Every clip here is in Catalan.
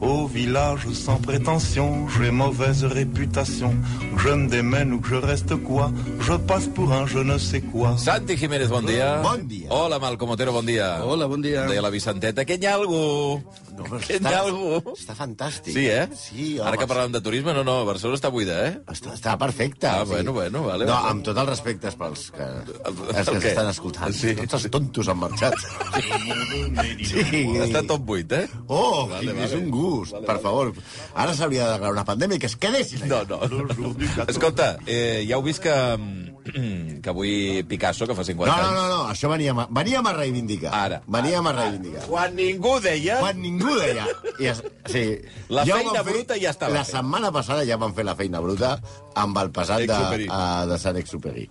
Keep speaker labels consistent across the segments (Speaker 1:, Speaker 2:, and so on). Speaker 1: Au village sans prétention, j'ai mauvaise réputation. Que je me démène ou que je reste quoi, je passe pour un je ne sais quoi.
Speaker 2: Santi Jiménez, bon dia.
Speaker 3: Bon dia.
Speaker 2: Hola, Malcom Otero, bon dia.
Speaker 3: Hola, bon dia.
Speaker 2: Deia la Vicenteta, que n'hi ha algú?
Speaker 3: No, però
Speaker 2: que
Speaker 3: està-
Speaker 2: n'hi ha algú?
Speaker 3: Està fantàstic.
Speaker 2: Sí, eh?
Speaker 3: Sí, home,
Speaker 2: Ara que parlàvem de turisme, no, no, Barcelona està buida, eh?
Speaker 3: Està, està perfecte.
Speaker 2: Ah,
Speaker 3: o sigui-
Speaker 2: bueno, bueno, vale,
Speaker 3: No,
Speaker 2: vale.
Speaker 3: amb tot el respecte pels que, els que
Speaker 2: el
Speaker 3: ens
Speaker 2: què?
Speaker 3: estan escoltant.
Speaker 2: Sí.
Speaker 3: Tots els tontos han marxat. sí.
Speaker 2: Està tot buit, eh?
Speaker 3: Oh,
Speaker 2: Vale,
Speaker 3: vale,
Speaker 2: vale.
Speaker 3: és un gust, per favor. Ara s'hauria de declarar una pandèmia i que es quedessin allà.
Speaker 2: No, no. no. Escolta, eh, ja heu vist que, mm, que avui Picasso, que fa 50
Speaker 3: No, no,
Speaker 2: anys...
Speaker 3: no, no, això veníem a, veníem a reivindicar.
Speaker 2: doncs. Ara.
Speaker 3: Veníem a reivindicar.
Speaker 2: Quan ningú deia...
Speaker 3: Quan ningú deia... I es, sí,
Speaker 2: La
Speaker 3: ho
Speaker 2: feina
Speaker 3: vam fer-
Speaker 2: bruta ja estava
Speaker 3: La
Speaker 2: feta.
Speaker 3: setmana passada ja vam fer la feina bruta amb el passat de,
Speaker 2: Exuperi.
Speaker 3: uh, de Sant Exuperi.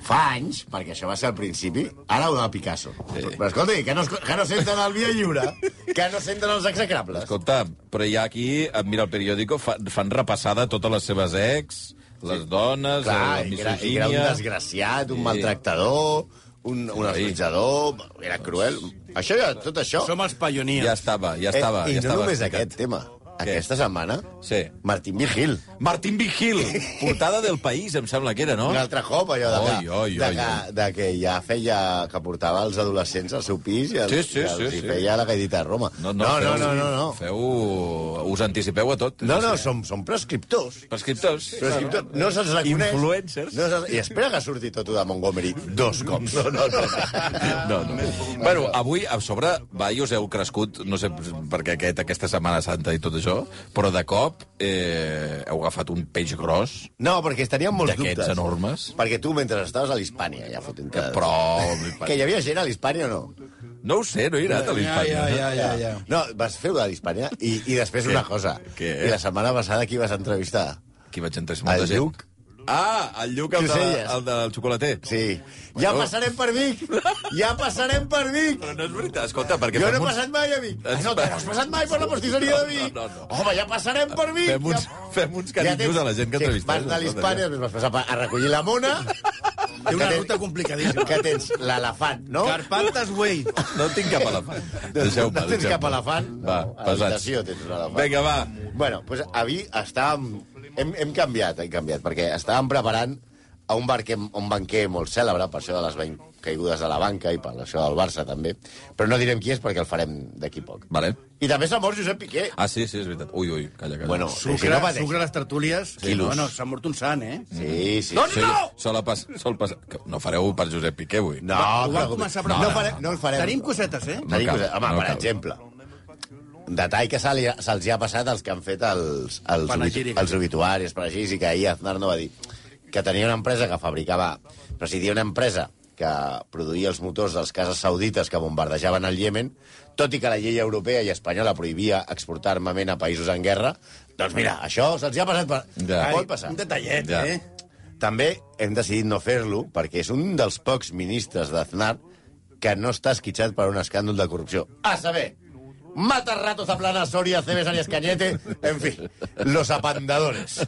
Speaker 3: Fa anys, perquè això va ser al principi, ara ho de Picasso. Sí. Però escolta, que no, es- que no senten el via lliure, que no senten els execrables.
Speaker 2: Escolta, però ja aquí, em mira el periòdico, fa, fan repassada totes les seves ex, les dones,
Speaker 3: Clar,
Speaker 2: la
Speaker 3: i era, i era un
Speaker 2: misogínia...
Speaker 3: desgraciat, un
Speaker 2: Sí.
Speaker 3: maltractador, un, un assetjador, era
Speaker 2: Doncs
Speaker 3: cruel. Això ja, tot això...
Speaker 4: Som els pioníers.
Speaker 2: Ja estava, ja estava.
Speaker 3: eh, I
Speaker 2: ja
Speaker 3: no
Speaker 2: estava
Speaker 3: només
Speaker 2: explicat.
Speaker 3: aquest tema. Aquesta setmana,
Speaker 2: Sí.
Speaker 3: Martín Vigil.
Speaker 2: Martín Vigil, portada del País, em sembla que era, no?
Speaker 3: Un altre cop, allò de,
Speaker 2: Oi,
Speaker 3: que,
Speaker 2: oi,
Speaker 3: de,
Speaker 2: oi,
Speaker 3: que,
Speaker 2: oi.
Speaker 3: de que ja feia... que portava els adolescents al seu pis i els,
Speaker 2: Sí, sí,
Speaker 3: i els
Speaker 2: sí,
Speaker 3: hi
Speaker 2: sí.
Speaker 3: feia la gaidita a Roma. no, no, no, no, no.
Speaker 2: Feu... Us anticipeu a tot.
Speaker 3: No, no, som, som prescriptors.
Speaker 2: Prescriptors.
Speaker 3: Prescriptor, no se'ls reconeix.
Speaker 2: Influencers.
Speaker 3: No se'ls... I espera que surti tot de Montgomery dos cops. No, no, no.
Speaker 2: No, no. Bueno, avui, a sobre, va, i us heu crescut, no sé per què aquest, aquesta Setmana Santa i tot això, però de cop eh, heu agafat un peix gros,
Speaker 3: No, perquè es tenien molts
Speaker 2: D'aquests
Speaker 3: dubtes.
Speaker 2: enormes.
Speaker 3: Perquè tu, mentre estaves a l'Hispània, ja fotent
Speaker 2: que
Speaker 3: cada...
Speaker 2: però...
Speaker 3: Que hi havia gent a l'Hispània o no?
Speaker 2: No ho sé, no he anat a eh? l'Hispània.
Speaker 4: Ja, Ah, ja, ja.
Speaker 3: No, vas fer de l'Hispània i, i després una cosa.
Speaker 2: Què?
Speaker 3: I la setmana passada qui vas entrevistar?
Speaker 2: Aquí vaig entrar molta
Speaker 3: El
Speaker 2: gent.
Speaker 3: Lluc.
Speaker 2: Ah, el Lluc, el, de,
Speaker 3: Crucelles.
Speaker 2: el del xocolater.
Speaker 3: Sí. Ja passarem per Vic! Ja passarem per Vic!
Speaker 2: Però no és veritat, escolta, perquè...
Speaker 3: Jo
Speaker 2: fem
Speaker 3: no he
Speaker 2: un-
Speaker 3: passat mai a Vic.
Speaker 2: Ens
Speaker 3: Ah, no,
Speaker 2: va-
Speaker 3: no has passat mai per la pastisseria de Vic.
Speaker 2: No, no, no.
Speaker 3: Home, ja passarem per Vic.
Speaker 2: Fem uns-
Speaker 3: ja...
Speaker 2: fem uns carinyos a
Speaker 3: tens-
Speaker 2: la gent que eh,
Speaker 3: sí,
Speaker 2: entrevistes,
Speaker 3: Vas de
Speaker 2: escolta,
Speaker 3: l'Hispània, després vas passar per- a recollir la mona.
Speaker 4: Té una
Speaker 3: Que tens-
Speaker 4: ruta complicadíssima.
Speaker 3: Que tens l'elefant, no?
Speaker 4: Carpantes Way.
Speaker 2: No tinc cap elefant. Deixeu-me,
Speaker 3: no tens
Speaker 2: deixeu-me.
Speaker 3: cap elefant?
Speaker 2: Va,
Speaker 3: no, a
Speaker 2: pesats.
Speaker 3: l'habitació tens un elefant.
Speaker 2: Vinga, va.
Speaker 3: Bueno, doncs a mi estàvem... Hem, hem canviat, hem canviat, perquè estàvem preparant a un, barquer, un banquer molt cèlebre, per això de les ben- caigudes de la banca i per això del Barça, també. Però no direm qui és perquè el farem d'aquí poc.
Speaker 2: Vale.
Speaker 3: I també s'ha mort Josep Piqué.
Speaker 2: Ah, sí, sí, és veritat. Ui, ui, calla, calla.
Speaker 3: Bueno, eh,
Speaker 4: Sucre,
Speaker 3: si no pateix.
Speaker 4: sucre a les tertúlies.
Speaker 3: Quilos.
Speaker 4: Bueno, s'ha mort un sant, eh?
Speaker 3: Sí, sí.
Speaker 4: Doncs
Speaker 2: Sí,
Speaker 4: no!
Speaker 2: sol, pas, sol pas... que No fareu per Josep Piqué, avui.
Speaker 3: No,
Speaker 4: ho vam començar, però...
Speaker 3: no, farem, no el farem.
Speaker 4: Tenim cosetes, eh?
Speaker 2: No
Speaker 3: Tenim
Speaker 2: cal,
Speaker 3: coses. Home,
Speaker 2: no
Speaker 3: per
Speaker 2: cal.
Speaker 3: exemple, un detall que se li- se'ls hi ha passat als que han fet els, els, obit-
Speaker 4: Panegírics.
Speaker 3: els obituaris, panegírics, i que ahir Aznar no va dir que tenia una empresa que fabricava... Però si hi havia una empresa que produïa els motors dels cases saudites que bombardejaven el Iemen, tot i que la llei europea i espanyola prohibia exportar armament a països en guerra, doncs mira, això se'ls hi ha passat per...
Speaker 2: Ja.
Speaker 3: Pot passar.
Speaker 4: Un detallet,
Speaker 2: Ja.
Speaker 4: eh?
Speaker 3: També hem decidit no fer-lo perquè és un dels pocs ministres d'Aznar que no està esquitxat per un escàndol de corrupció. A saber, mata ratos a plana Soria, Cebes, Arias Cañete, en fi, los apandadores.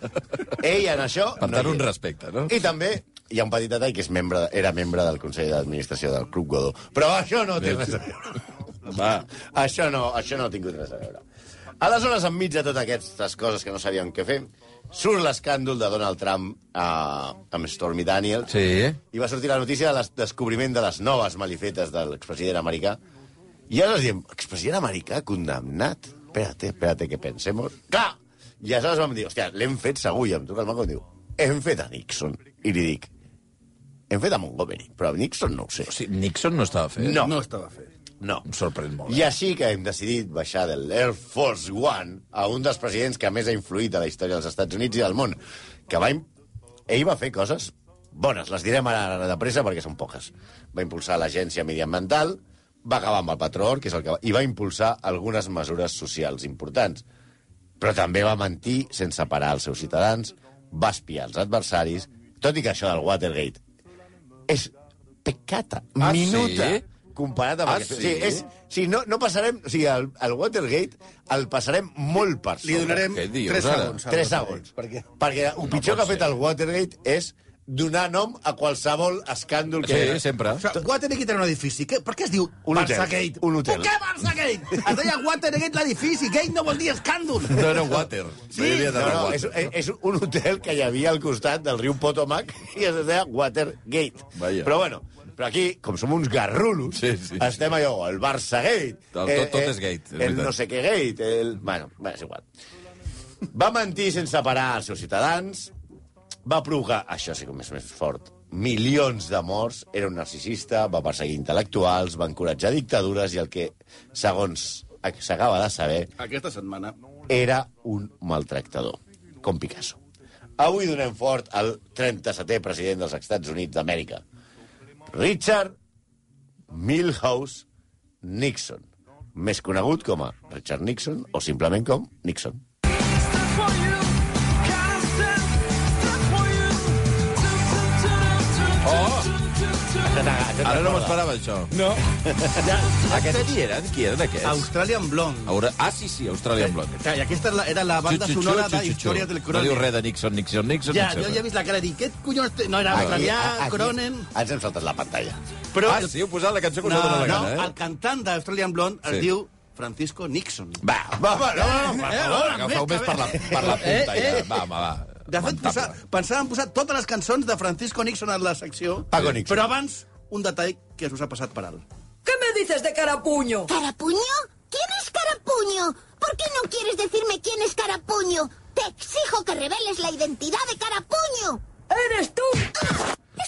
Speaker 3: Ell en això...
Speaker 2: Per tant,
Speaker 3: hi
Speaker 2: un
Speaker 3: és. Eh.
Speaker 2: respecte, no?
Speaker 3: I també hi ha un petit detall que és membre, era membre del Consell d'Administració del Club Godó. Però això no té res a veure.
Speaker 2: Va.
Speaker 3: Això no, això no ha tingut res a veure. Aleshores, enmig de totes aquestes coses que no sabíem què fer, surt l'escàndol de Donald Trump eh, amb Stormy Daniels
Speaker 2: Sí.
Speaker 3: i va sortir la notícia del descobriment de les noves malifetes de l'expresident americà. I aleshores diem, expresident americà condemnat? Espérate, espérate, que pensemos. Clar! I aleshores vam dir, hòstia, l'hem fet segur, i em truca el maco i em diu, hem fet a Nixon. I li dic, hem fet a Montgomery, però a Nixon no ho sé.
Speaker 2: O sigui, Nixon no estava fet.
Speaker 3: No.
Speaker 4: No estava fet.
Speaker 3: No.
Speaker 2: Em sorprèn molt. eh?
Speaker 3: I així que hem decidit baixar de l'Air Force One a un dels presidents que més ha influït a la història dels Estats Units i del món, que va... im- Ell va fer coses bones, les direm ara ara de pressa perquè són poques. Va impulsar l'Agència Mediambiental, va acabar amb el patró, que és el que va... i va impulsar algunes mesures socials importants. Però també va mentir sense parar als seus ciutadans, va espiar els adversaris, tot i que això del Watergate és peccata,
Speaker 2: Ah,
Speaker 3: minuta,
Speaker 2: sí?
Speaker 3: comparat amb
Speaker 2: Ah,
Speaker 3: aquest...
Speaker 2: sí?
Speaker 3: sí és, sí, no, no passarem... O sigui, el, el Watergate el passarem molt per sobre.
Speaker 4: Li donarem
Speaker 2: Què dius,
Speaker 4: 3
Speaker 2: ara?
Speaker 4: segons.
Speaker 3: 3 segons.
Speaker 4: Perquè...
Speaker 3: Perquè el pitjor que ha fet el Watergate és donar nom a qualsevol escàndol que...
Speaker 2: Sí, sempre.
Speaker 4: O sigui, Watergate era un edifici. Què, per què es diu
Speaker 3: Un hotel.
Speaker 4: Barçagate?
Speaker 3: Un hotel.
Speaker 4: Per què Barçagate? Es deia Watergate l'edifici. Gate no vol dir escàndol.
Speaker 2: No era water.
Speaker 4: Sí,
Speaker 2: no hi havia
Speaker 3: No,
Speaker 2: d'anar
Speaker 3: no, és, eh,
Speaker 2: water.
Speaker 3: és un hotel que hi havia al costat del riu Potomac i es deia Watergate.
Speaker 2: Vaja.
Speaker 3: Però bueno, però aquí, com som uns garrulos,
Speaker 2: Sí, sí.
Speaker 3: estem allò, el Barça Gate, Eh,
Speaker 2: Tot- tot és gate, és
Speaker 3: el
Speaker 2: veritat.
Speaker 3: no sé què Gate, el... Bueno, bé, és igual. Va mentir sense parar als seus ciutadans, va provocar, això sí que més, més fort, milions de morts, era un narcisista, va perseguir intel·lectuals, va encoratjar dictadures i el que, segons eh, s'acaba de saber,
Speaker 4: Aquesta setmana...
Speaker 3: era un maltractador, com Picasso. Avui donem fort al 37è president dels Estats Units d'Amèrica, Richard Milhouse Nixon, més conegut com a Richard Nixon o simplement com Nixon.
Speaker 2: Ara no m'esperava, això. No. Aquests qui eren? Qui eren aquests?
Speaker 4: Australian Blonde.
Speaker 2: Aura... Ah, sí, sí, Australian Blonde.
Speaker 4: Que aquesta la- era la banda
Speaker 2: Xuxu,
Speaker 4: sonora
Speaker 2: xuxu,
Speaker 4: de
Speaker 2: xuxu.
Speaker 4: Història del
Speaker 2: No diu
Speaker 4: Cronen.
Speaker 2: res de Nixon, Nixon, Nixon,
Speaker 4: Ja, jo
Speaker 2: Nixon.
Speaker 4: ja he vist la cara i dic, què collons... té?" No, era australià, Cronen...
Speaker 3: Ah, Ens hem saltat la pantalla.
Speaker 4: Però
Speaker 2: Ah,
Speaker 4: el-
Speaker 2: sí, heu posat la cançó que us
Speaker 4: No,
Speaker 2: ha donat la
Speaker 4: no,
Speaker 2: gana,
Speaker 4: el cantant d'Australian Blonde es
Speaker 2: eh? Sí.
Speaker 4: diu Francisco Nixon.
Speaker 2: eh? Va,
Speaker 3: Va, va, no, no, no,
Speaker 2: Per
Speaker 3: va.
Speaker 2: favor, agafeu més per la, per la punta,
Speaker 4: Eh, eh.
Speaker 2: ja. Va, home, va.
Speaker 4: De fet,
Speaker 2: Lamentable.
Speaker 4: posa, pensaven posar totes les cançons de Francisco Nixon en la secció,
Speaker 3: Paco Nixon.
Speaker 4: però abans un detall que us ha passat per alt.
Speaker 5: ¿Qué me dices de carapuño?
Speaker 6: ¿Carapuño? ¿Quién es Carapuño? ¿Por qué no quieres decirme quién es Carapuño? Te exijo que reveles la identidad de Carapuño.
Speaker 5: ¡Eres tú!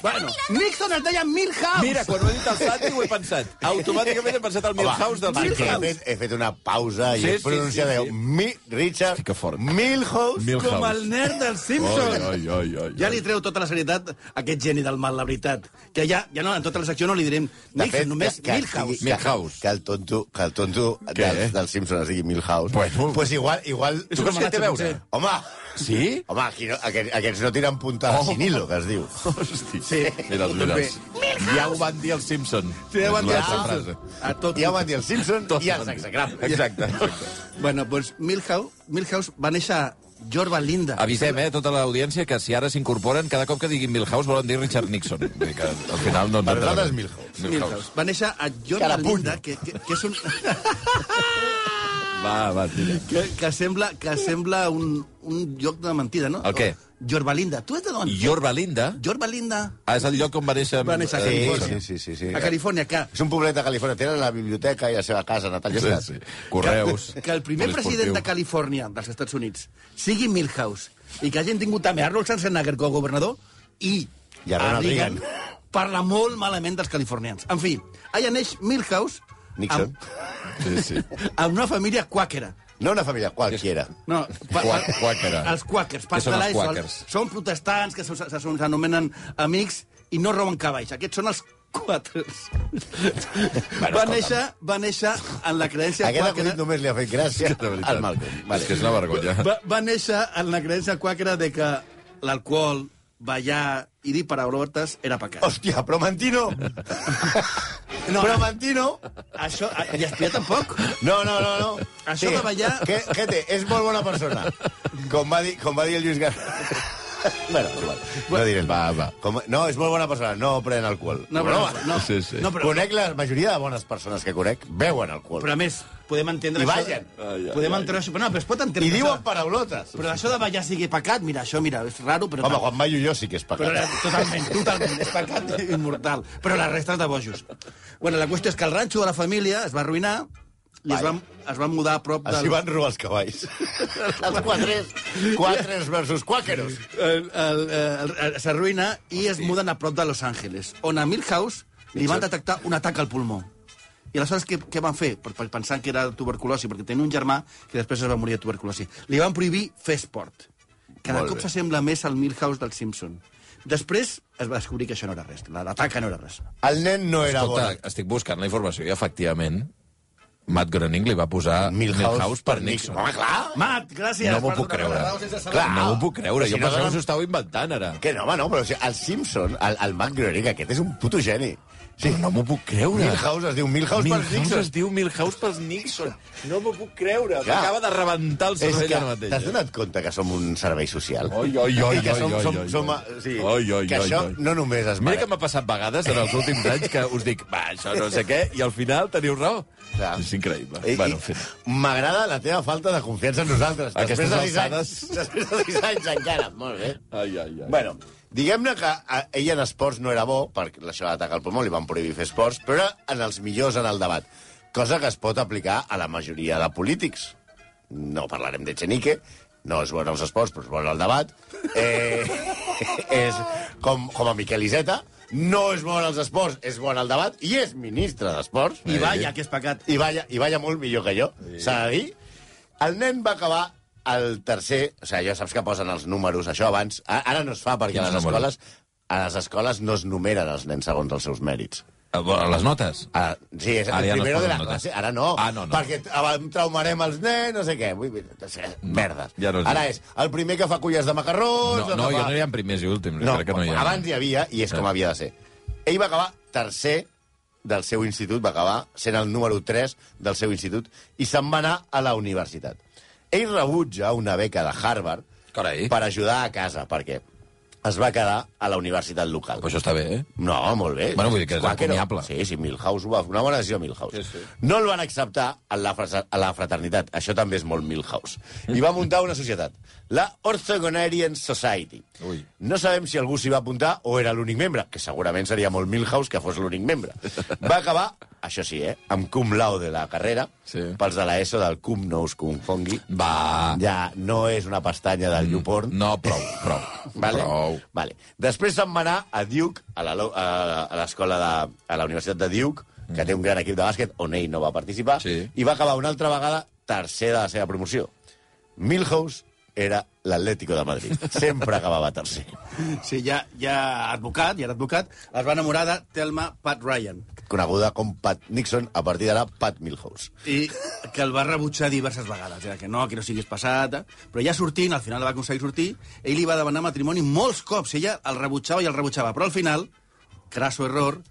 Speaker 4: Bueno, Nixon es deia Milhouse!
Speaker 2: Mira, quan ho he dit al Santi ho he pensat. Automàticament he pensat al Milhouse del
Speaker 3: Home, perquè he
Speaker 2: Santi.
Speaker 3: fet, he fet una pausa
Speaker 2: Sí,
Speaker 3: i he
Speaker 2: sí,
Speaker 3: pronunciat
Speaker 2: sí,
Speaker 3: sí,
Speaker 2: sí.
Speaker 3: Mi, Richard
Speaker 2: Sí, que fort.
Speaker 3: Milhouse.
Speaker 2: Mil-
Speaker 4: com el nerd dels Simpsons!
Speaker 2: Oi, oi, oi, oi.
Speaker 4: Ja li treu tota la serietat a aquest geni del mal, la veritat. Que ja, ja no, en tota la secció no li direm
Speaker 3: De
Speaker 4: Nixon, només Milhouse.
Speaker 2: que- Milhouse.
Speaker 3: Que, que el tonto, que el tonto
Speaker 2: Què?
Speaker 3: dels, dels Simpsons es digui Milhouse.
Speaker 2: Bueno.
Speaker 3: pues igual, igual...
Speaker 2: Tu creus que té a veure?
Speaker 3: Home,
Speaker 2: Sí?
Speaker 3: home aquí no, aquests, aquests no tiren puntada oh. sinilo, que es diu.
Speaker 2: Hosti. Sí. Mira, els
Speaker 4: Doncs
Speaker 2: mirals. Ja ho van dir els Simpson.
Speaker 4: Té davant de
Speaker 2: És la
Speaker 4: Simpsons.
Speaker 2: frase.
Speaker 4: A tot.
Speaker 3: Ja ho van dir els Simpsons
Speaker 2: Tots
Speaker 3: i els
Speaker 2: van dir.
Speaker 3: execrables.
Speaker 2: Exacte. exacte.
Speaker 4: Bueno, doncs Milhouse, Milhouse va néixer a Yorba Linda.
Speaker 2: Avisem, eh, tota l'audiència, que si ara s'incorporen, cada cop que diguin Milhouse volen dir Richard Nixon. Vull dir que al final no ens
Speaker 3: Per nosaltres
Speaker 2: entenem.
Speaker 3: Milhouse.
Speaker 2: Milhouse.
Speaker 4: Va néixer a Yorba
Speaker 3: Carapuño.
Speaker 4: Linda, que, que, que és un...
Speaker 2: Va, va, tira.
Speaker 4: Que, que sembla, que sembla un, un lloc de mentida, no?
Speaker 2: El què?
Speaker 4: Yorba Linda. Tu ets de d'on?
Speaker 2: Yorba Linda
Speaker 4: Yorba Linda,
Speaker 2: ah, és el lloc on va néixer...
Speaker 4: Va néixer a
Speaker 2: eh,
Speaker 3: Sí,
Speaker 4: Califòrnia.
Speaker 2: Nixon.
Speaker 3: sí, sí, sí, sí.
Speaker 4: a Califòrnia, que,
Speaker 3: És un poblet de Califòrnia. Tenen la biblioteca i la seva casa natal.
Speaker 2: Sí, sí. Correus.
Speaker 4: que el primer
Speaker 2: poliesportiu.
Speaker 4: president de Califòrnia, dels Estats Units, sigui Milhouse, i que hagin tingut també Arnold Schwarzenegger com a governador, i,
Speaker 3: I a Ronald Reagan.
Speaker 4: parla molt malament dels californians. En fi, allà neix Milhouse...
Speaker 3: Nixon.
Speaker 2: Sí, sí.
Speaker 4: Amb, amb una família quàquera.
Speaker 3: No una família qualquiera.
Speaker 4: No, pa-
Speaker 2: Qua- quàquera.
Speaker 4: Els quàquers.
Speaker 2: Què són els
Speaker 4: pastelaissos,
Speaker 2: quàquers?
Speaker 4: Són protestants que se- se- se- s'anomenen amics i no roben cavalls. Aquests són els quatres.
Speaker 3: Bueno,
Speaker 4: va,
Speaker 3: escolta'm.
Speaker 4: néixer, va néixer en la creencia
Speaker 3: Aquest acudit
Speaker 4: quàquera...
Speaker 3: només li ha fet gràcia
Speaker 2: De veritat.
Speaker 3: al Malcolm.
Speaker 2: És que és una vergonya.
Speaker 4: Va, va néixer en la creencia quàquera de que l'alcohol, ballar i dir paraulotes era pecat.
Speaker 3: Hòstia, Promantino!
Speaker 4: No.
Speaker 3: Promantino!
Speaker 4: Això, a- i espia tampoc.
Speaker 3: No, no, no, no.
Speaker 4: Això de ballar-
Speaker 3: Que, que té, és molt bona persona. Com va dir, com va dir el Lluís García. bueno, igual. No diré. Va, va. Com, no, és molt bona persona. No pren alcohol.
Speaker 4: No, però, no,
Speaker 2: Sí, sí.
Speaker 4: no,
Speaker 3: però,
Speaker 4: però,
Speaker 3: conec la majoria de bones persones que conec beuen alcohol.
Speaker 4: però a més, podem entendre
Speaker 3: I
Speaker 4: això.
Speaker 3: ballen.
Speaker 2: Ai, ai,
Speaker 4: podem
Speaker 2: ai.
Speaker 4: entendre això. Però no, però es pot entendre
Speaker 3: I
Speaker 4: això.
Speaker 3: diuen paraulotes.
Speaker 4: Però això de ballar sigui pecat, mira, això, mira, és raro, però...
Speaker 3: Home, Juan Mayo jo sí que és
Speaker 4: Però
Speaker 3: pecat.
Speaker 4: era totalment, totalment, és pecat i immortal. Però la resta és de bojos. Bueno, la qüestió és que el ranxo de la família es va arruïnar i es van, es van mudar a prop
Speaker 3: Així
Speaker 4: del...
Speaker 3: van robar els cavalls. els quatres, quatres versus quàqueros.
Speaker 4: el- el- el- el- S'arruïna i es muden a prop de Los Angeles, on a Milhouse li van detectar un atac al pulmó. I aleshores què, què van fer? Per, per pensar que era tuberculosi, perquè tenia un germà que després es va morir de tuberculosi. Li van prohibir fer esport. Cada
Speaker 3: Molt
Speaker 4: cop
Speaker 3: bé.
Speaker 4: s'assembla més al Milhouse del Simpson. Després es va descobrir que això no era res. la- L'ataca no era res.
Speaker 3: El nen no era
Speaker 2: Escolta,
Speaker 3: bon.
Speaker 2: estic buscant la informació i, efectivament, Matt Groening li va posar Milhouse, per Nixon.
Speaker 3: Home, clar.
Speaker 4: Matt, gràcies.
Speaker 2: No m'ho
Speaker 4: per
Speaker 2: puc
Speaker 4: donar-me
Speaker 2: creure.
Speaker 4: la raó sense saber.
Speaker 3: Clar.
Speaker 2: No m'ho puc creure,
Speaker 3: Però si
Speaker 2: jo
Speaker 3: no
Speaker 2: pensava
Speaker 3: donen-
Speaker 2: que s'ho estàveu inventant, ara.
Speaker 3: Que no, home, no, però o sigui, el Simpson, el, el Matt Groening, aquest és un puto geni.
Speaker 2: Sí. Però no m'ho puc creure.
Speaker 3: Milhouse es diu Milhouse, per
Speaker 2: Milhouse
Speaker 3: Nixon.
Speaker 2: es diu Milhouse pels Nixon. No m'ho puc creure.
Speaker 3: Clar.
Speaker 2: M'acaba de rebentar el
Speaker 3: És
Speaker 2: cervell
Speaker 3: que
Speaker 2: ara
Speaker 3: t'has
Speaker 2: mateix. eh?
Speaker 3: donat compte que som un servei social?
Speaker 2: Oi, oi, oi,
Speaker 3: I que
Speaker 2: oi,
Speaker 3: som,
Speaker 2: oi,
Speaker 3: som,
Speaker 2: oi,
Speaker 3: som,
Speaker 2: oi.
Speaker 3: o sigui,
Speaker 2: Oi, oi,
Speaker 3: que
Speaker 2: oi,
Speaker 3: això
Speaker 2: oi.
Speaker 3: no només es
Speaker 2: Mira que m'ha passat vegades en els últims anys que us dic, va, això no sé què, i al final teniu raó.
Speaker 3: Clar.
Speaker 2: És increïble.
Speaker 3: I-
Speaker 2: bueno, en
Speaker 3: i
Speaker 2: fi.
Speaker 3: M'agrada la teva falta de confiança en nosaltres.
Speaker 2: Aquestes
Speaker 3: Després de sis anys,
Speaker 2: alçades.
Speaker 3: després de sis anys encara. Molt bé.
Speaker 2: Ai, ai, ai.
Speaker 3: Bueno, diguem-ne que a- ell en esports no era bo, perquè això d'atacar el pulmó li van prohibir fer esports, però era en els millors en el debat, cosa que es pot aplicar a la majoria de polítics. No parlarem de Chenique, no és bon als esports, però és bon al debat. Eh, és com, com a Miquel Iceta, no és bon als esports, és bon al debat, i és ministre d'Esports.
Speaker 4: I vaya, que és pecat.
Speaker 3: I balla, i balla molt millor que jo, s'ha de dir. El nen va acabar el tercer... O sigui, ja saps que posen els números, això abans... A- Ara no es fa, perquè a
Speaker 2: Quins
Speaker 3: les
Speaker 2: números?
Speaker 3: escoles... A les escoles no es numeren els nens segons els seus mèrits.
Speaker 2: A Eh, les notes?
Speaker 3: Ara, sí, és
Speaker 2: Ara
Speaker 3: el
Speaker 2: ja no
Speaker 3: primero
Speaker 2: es posen
Speaker 3: de la
Speaker 2: notes.
Speaker 3: classe. Ara no,
Speaker 2: Ah, no, no.
Speaker 3: perquè t- abans traumarem els nens, no sé què. Vull, dir, o sigui, merdes.
Speaker 2: Mm. ja no és
Speaker 3: Ara
Speaker 2: així.
Speaker 3: és el primer que fa culles de macarrons...
Speaker 2: No, no,
Speaker 3: que
Speaker 2: jo
Speaker 3: fa-
Speaker 2: no hi ha primers i últims.
Speaker 3: no,
Speaker 2: crec que no hi ha. Eh?
Speaker 3: abans hi havia, i és
Speaker 2: Sí.
Speaker 3: com havia de ser. Ell va acabar tercer del seu institut, va acabar sent el número 3 del seu institut, i se'n va anar a la universitat. Ell rebutja una beca de Harvard
Speaker 2: Carai.
Speaker 3: per ajudar a casa, perquè es va quedar a la universitat local.
Speaker 2: Però això està bé, eh?
Speaker 3: No, molt bé.
Speaker 2: Bueno, vull dir que és
Speaker 3: Quaker,
Speaker 2: encomiable.
Speaker 3: Sí, sí, Milhouse ho va fer. Una bona decisió, Milhouse.
Speaker 2: Sí, sí.
Speaker 3: No el van acceptar a la, fra- a la fraternitat. Això també és molt Milhouse. I va muntar una societat, la Orthogonarian Society.
Speaker 2: Ui.
Speaker 3: No sabem si algú s'hi va apuntar o era l'únic membre, que segurament seria molt Milhouse que fos l'únic membre. Va acabar, això sí, eh, amb cum laude la carrera,
Speaker 2: Sí.
Speaker 3: pels de l'ESO del cum no us confongui.
Speaker 2: Va.
Speaker 3: Ja no és una pestanya del mm. YouPorn.
Speaker 2: No, prou, prou.
Speaker 3: Vale?
Speaker 2: Prou.
Speaker 3: Vale. Després se'n va anar a Duke, a la lo- a- a l'escola de... a la Universitat de Duke, que té un gran equip de bàsquet, on ell no va participar,
Speaker 2: Sí.
Speaker 3: i va acabar una altra vegada tercer de la seva promoció. Milhouse era l'Atlético de Madrid. Sempre acabava tercer.
Speaker 4: Sí, ja, ja advocat, ja era advocat, es va enamorar de Thelma Pat Ryan,
Speaker 3: Coneguda com Pat Nixon, a partir d'ara Pat Milhouse.
Speaker 4: i que el va rebutjar diverses vegades, era que no, que no siguis passat, eh? però ja sortint, al final va aconseguir sortir, ell li va demanar matrimoni molts cops, ella el rebutjava i el rebutjava, però al final, crasso error,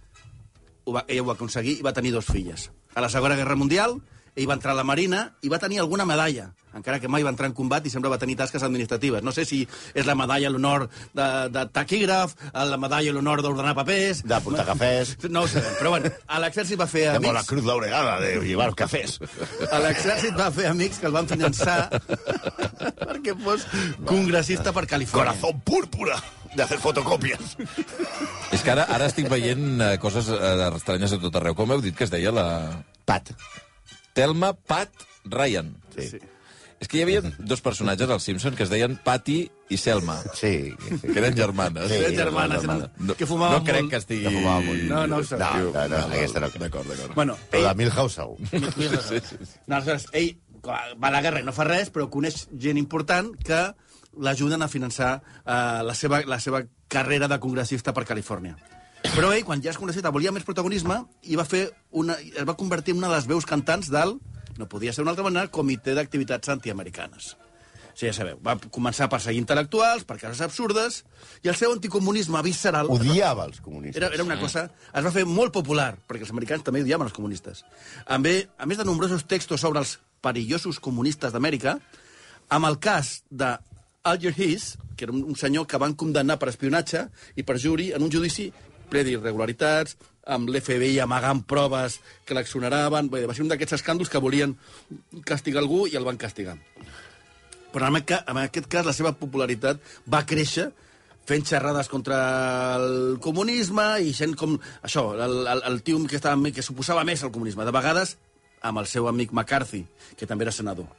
Speaker 4: ho va, ella ho va aconseguir i va tenir dos filles. A la Segona Guerra Mundial, ell va entrar a la Marina i va tenir alguna medalla, encara que mai va entrar en combat i sempre va tenir tasques administratives. No sé si és la medalla a l'honor de, de taquígraf, la medalla a l'honor d'ordenar papers...
Speaker 3: De portar cafès,
Speaker 4: No ho sabem, però bueno, a l'exèrcit va fer
Speaker 3: de
Speaker 4: amics...
Speaker 3: amb la cruz laureada, de llevar cafès.
Speaker 4: A l'exèrcit va fer amics que el van finançar perquè fos congressista per Califòrnia.
Speaker 3: Corazón púrpura, de hacer fotocopias.
Speaker 2: És que ara, ara estic veient eh, coses eh, estranyes a tot arreu. Com heu dit que es deia la...
Speaker 3: Pat.
Speaker 2: Telma Pat Ryan.
Speaker 3: Sí. Sí.
Speaker 2: És que hi havia dos personatges als Simpson que es deien Patty i Selma,
Speaker 3: Sí.
Speaker 2: que eren germanes.
Speaker 3: Sí,
Speaker 4: Eren germanes,
Speaker 3: germana.
Speaker 4: eren- que fumaven
Speaker 2: no crec
Speaker 4: molt.
Speaker 2: que estigui...
Speaker 3: Que fumava molt.
Speaker 4: No, no ho sé.
Speaker 3: No, no, no, aquesta no.
Speaker 2: D'acord, d'acord.
Speaker 4: Bueno,
Speaker 3: Però
Speaker 4: ell,
Speaker 3: de Milhouse segur.
Speaker 2: Sí, sí, sí.
Speaker 4: no, aleshores, ell clar, va a la guerra i no fa res, però coneix gent important que l'ajuden a finançar eh, la, seva, la seva carrera de congressista per Califòrnia. Però ell, quan ja és congressista, volia més protagonisme i va fer una, es va convertir en una de les veus cantants del, no podia ser d'una altra manera, Comitè d'Activitats Antiamericanes. Sí, ja sabeu, va començar a perseguir intel·lectuals, per cases absurdes, i el seu anticomunisme visceral...
Speaker 3: Odiava els comunistes.
Speaker 4: Era, era una cosa... Es va fer molt popular, perquè els americans també odiaven els comunistes. També, a més de nombrosos textos sobre els perillosos comunistes d'Amèrica, amb el cas de Alger Hiss, que era un, un senyor que van condemnar per espionatge i per juri en un judici ple d'irregularitats, amb l'FBI amagant proves que l'accionaven... Bé, va ser un d'aquests escàndols que volien castigar algú i el van castigar. Però en aquest, en aquest cas la seva popularitat va créixer fent xerrades contra el comunisme i sent com... Això, el, el, el tio que, estava, amb mi, que suposava més al comunisme. De vegades, amb el seu amic McCarthy, que també era senador.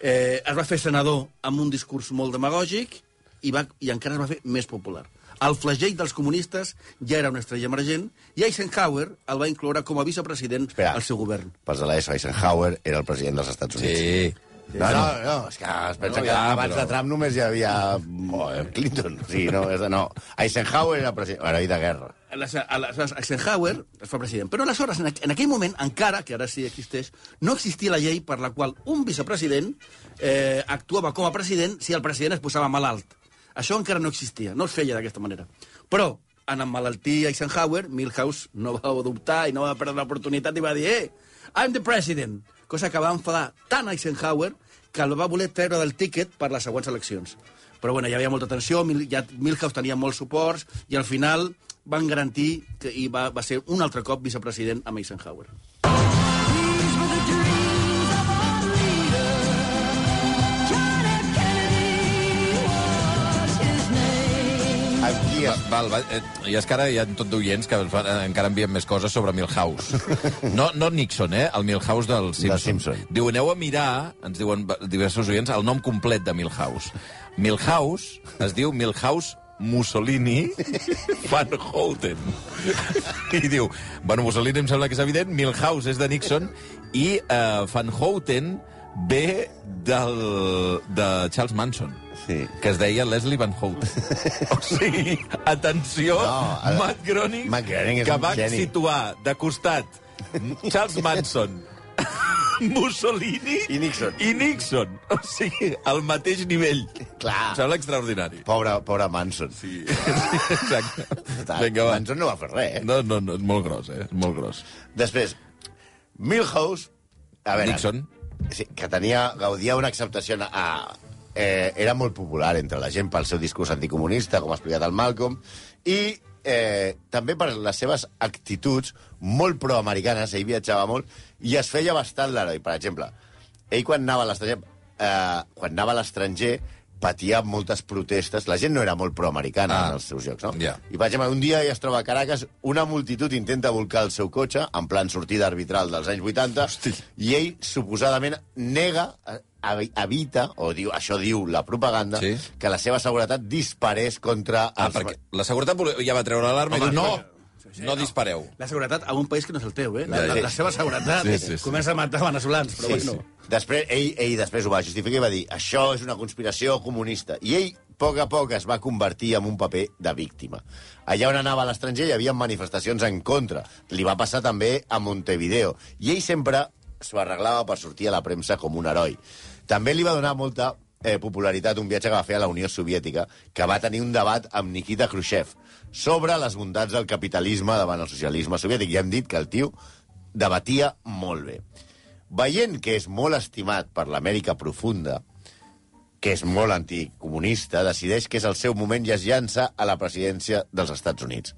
Speaker 4: Eh, es va fer senador amb un discurs molt demagògic i, va, i encara es va fer més popular. El flagell dels comunistes ja era una estrella emergent i Eisenhower el va incloure com a vicepresident
Speaker 3: Espera.
Speaker 4: al seu govern.
Speaker 3: Pels de l'ESO, Eisenhower era el president dels Estats Units.
Speaker 2: Sí.
Speaker 3: No, no, no, és que es pensa
Speaker 2: No,
Speaker 3: que
Speaker 2: ja,
Speaker 3: abans
Speaker 2: però-
Speaker 3: de Trump només hi havia oh, Clinton. Sí, no, és, no. Eisenhower era president, heroi de guerra.
Speaker 4: Aleshores, aleshores, Eisenhower es fa president. Però aleshores, en aqu- en aquell moment, encara, que ara sí existeix, no existia la llei per la qual un vicepresident eh, actuava com a president si el president es posava malalt. Això encara no existia, no es feia d'aquesta manera. Però en emmalaltir Eisenhower, Milhouse no va dubtar i no va perdre l'oportunitat i va dir «Eh, I'm the president!», cosa que va enfadar tant Eisenhower que el va voler treure del tiquet per les següents eleccions. Però bueno, hi havia molta tensió, Mil ja Milhouse tenia molts suports i al final van garantir que i va, va ser un altre cop vicepresident amb Eisenhower.
Speaker 3: Aquí
Speaker 2: Va,
Speaker 3: es...
Speaker 2: val, va, eh, i és que ara hi ha tot d'oients que fa- eh, encara envien més coses sobre Milhouse. No, no Nixon, eh? El Milhouse del Simpson.
Speaker 3: Simpson.
Speaker 2: Diu, aneu a mirar, ens diuen va- diversos oients, el nom complet de Milhouse. Milhouse es diu Milhouse Mussolini Van Houten. I diu, bueno, Mussolini em sembla que és evident, Milhouse és de Nixon i eh, Van Houten ve del, de Charles Manson.
Speaker 3: Sí.
Speaker 2: Que es deia Leslie Van Houten. O sigui, atenció,
Speaker 3: No, a-
Speaker 2: Matt Groening,
Speaker 3: Matt Groening és
Speaker 2: que
Speaker 3: un
Speaker 2: va
Speaker 3: geni.
Speaker 2: situar de costat Charles Manson, Mussolini
Speaker 3: I Nixon.
Speaker 2: i Nixon. O sigui, al mateix nivell.
Speaker 3: Clar.
Speaker 2: Em sembla extraordinari.
Speaker 3: Pobre, pobre Manson. Sí.
Speaker 2: Exacte. Vinga, va.
Speaker 3: Manson no va fer res, eh?
Speaker 2: No, no, no, és molt gros, eh? És molt gros.
Speaker 3: Després, Milhouse... A veure,
Speaker 2: Nixon.
Speaker 3: Sí, que tenia, gaudia una acceptació... A, eh, era molt popular entre la gent pel seu discurs anticomunista, com ha explicat el Malcolm, i eh, també per les seves actituds molt proamericanes. Ell viatjava molt i es feia bastant l'heroi. Per exemple, ell quan anava a l'estranger... Eh, quan anava a l'estranger patia moltes protestes. La gent no era molt proamericana
Speaker 2: Ah,
Speaker 3: ah, en els seus jocs, no?
Speaker 2: ja.
Speaker 3: I, per exemple, un dia ja es troba a Caracas, una multitud intenta volcar el seu cotxe, en plan sortida arbitral dels anys 80,
Speaker 2: Hosti.
Speaker 3: i ell, suposadament, nega, eh, evi- evita, o diu, això diu la propaganda,
Speaker 2: Sí.
Speaker 3: que la seva seguretat disparés contra...
Speaker 2: Ah,
Speaker 3: els-
Speaker 2: perquè la seguretat volia- ja va treure l'alarma i
Speaker 3: Home,
Speaker 2: diu, no, no dispareu.
Speaker 4: La seguretat a un país que no és el teu, eh? La,
Speaker 2: Ja,
Speaker 4: la,
Speaker 2: ja.
Speaker 4: la seva seguretat
Speaker 2: Sí,
Speaker 4: sí,
Speaker 2: sí, sí.
Speaker 4: comença a matar veneçolans, però sí, bueno...
Speaker 3: Després, ell, ell després ho va justificar i va dir això és una conspiració comunista. I ell, a poc a poc, es va convertir en un paper de víctima. Allà on anava a l'estranger hi havia manifestacions en contra. Li va passar també a Montevideo. I ell sempre s'ho arreglava per sortir a la premsa com un heroi. També li va donar molta eh, popularitat un viatge que va fer a la Unió Soviètica, que va tenir un debat amb Nikita Khrushchev sobre les bondats del capitalisme davant el socialisme soviètic. Ja hem dit que el tio debatia molt bé veient que és molt estimat per l'Amèrica profunda, que és molt anticomunista, decideix que és el seu moment i es llança a la presidència dels Estats Units.